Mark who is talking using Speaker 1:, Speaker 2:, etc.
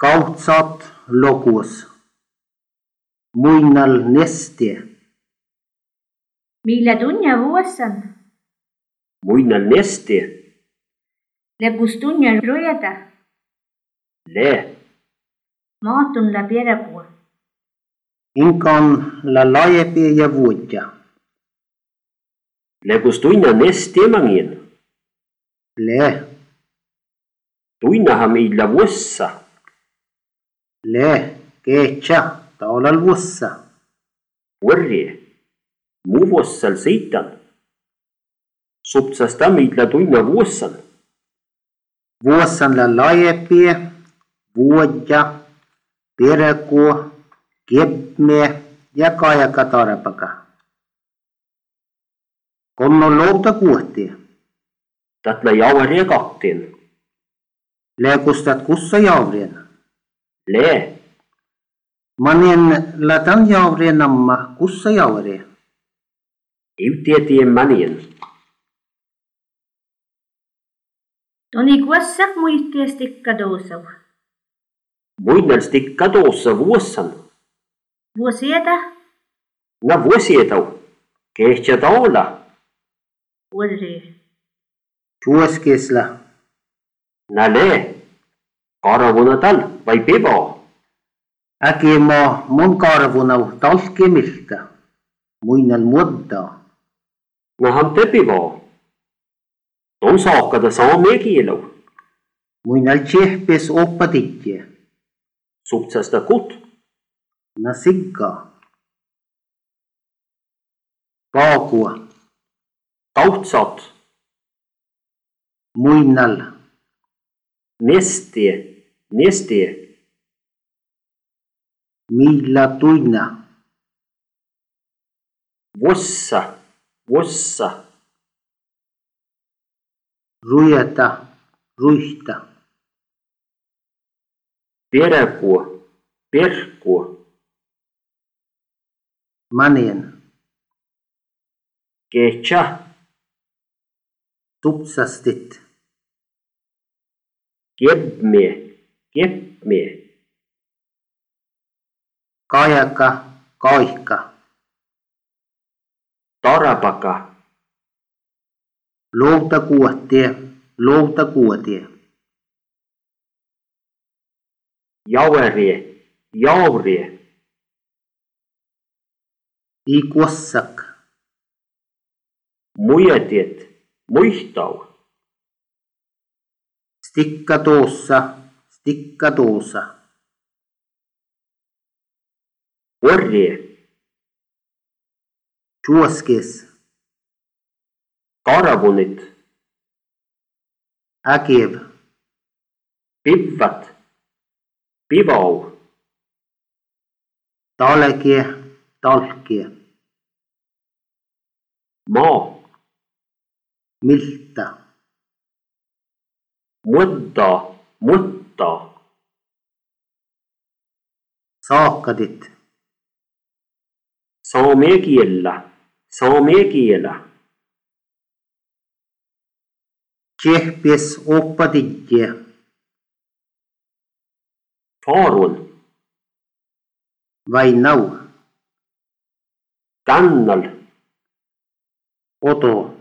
Speaker 1: Kauhtsat logus muinal Neste.
Speaker 2: mille tunne vuosan
Speaker 1: Muinal Neste.
Speaker 2: legus tunne rojada
Speaker 1: Le.
Speaker 2: maatun läbi järgu
Speaker 1: Inkan la laiepi ja vuotja.
Speaker 3: Legus tunna neste mangin.
Speaker 1: Le.
Speaker 3: Tunnahan meillä vuossa.
Speaker 1: Le. Keetsä. Taolal vuossa.
Speaker 3: Võrri. Muu vuossal seitan. Supsasta meillä tunna vuossan.
Speaker 1: Vuossan la laiepi. Vuotja. Pereku. Kepme. Ja kajaka tarapaka. Konnon loota kuohtia.
Speaker 3: Tatla jauharia kaktin.
Speaker 1: Leekustat kussa jaurien.
Speaker 3: Le.
Speaker 1: Manen latan jaurien namma kussa jaurien.
Speaker 3: Iutietien manien.
Speaker 2: tuli kuossa muistest ikka tõusav
Speaker 3: Muinal stikka tuossa vuossan.
Speaker 2: vuoseda
Speaker 3: Na vuosietau. Kehtsä taola.
Speaker 2: võrri
Speaker 1: Tuoskesla.
Speaker 3: Na le. Karavuna tal vai pivo.
Speaker 1: Äkimo mun karvunau talkimilta. Muinal muodda.
Speaker 3: Nahan te pivo. Tuon saakada saamee kiilau.
Speaker 1: Muinal tsehpes oppatikje.
Speaker 3: Supsasta kut.
Speaker 1: Na sigga. Kaakua.
Speaker 3: Kautsat.
Speaker 1: Muinal.
Speaker 3: Neste, neste,
Speaker 1: Milla tuina.
Speaker 3: vossa, vossa,
Speaker 1: Rujata. Ruista.
Speaker 3: perku, perku,
Speaker 1: Manen.
Speaker 3: kehtsä,
Speaker 1: Tupsastit.
Speaker 3: kepme, kepme,
Speaker 1: Kajaka. Kaika.
Speaker 3: tarapaka,
Speaker 1: Louta kuohtie. Louta kuohtie.
Speaker 3: jaurie, jaurie,
Speaker 1: Ikuossak.
Speaker 3: muietiet, muistau,
Speaker 1: Stikka tuossa. Stikka tuossa.
Speaker 3: orje,
Speaker 1: Tuoskes.
Speaker 3: karavunit,
Speaker 1: Äkev.
Speaker 3: pivvat, pivau,
Speaker 1: Talke. Talke.
Speaker 3: maa,
Speaker 1: Milta.
Speaker 3: mutta, mutta,
Speaker 1: Saakadit.
Speaker 3: saamee kielä, saamee kielä,
Speaker 1: Tsehpes oppadidje.
Speaker 3: faarun,
Speaker 1: Vainau.
Speaker 3: kannal,
Speaker 1: Oto.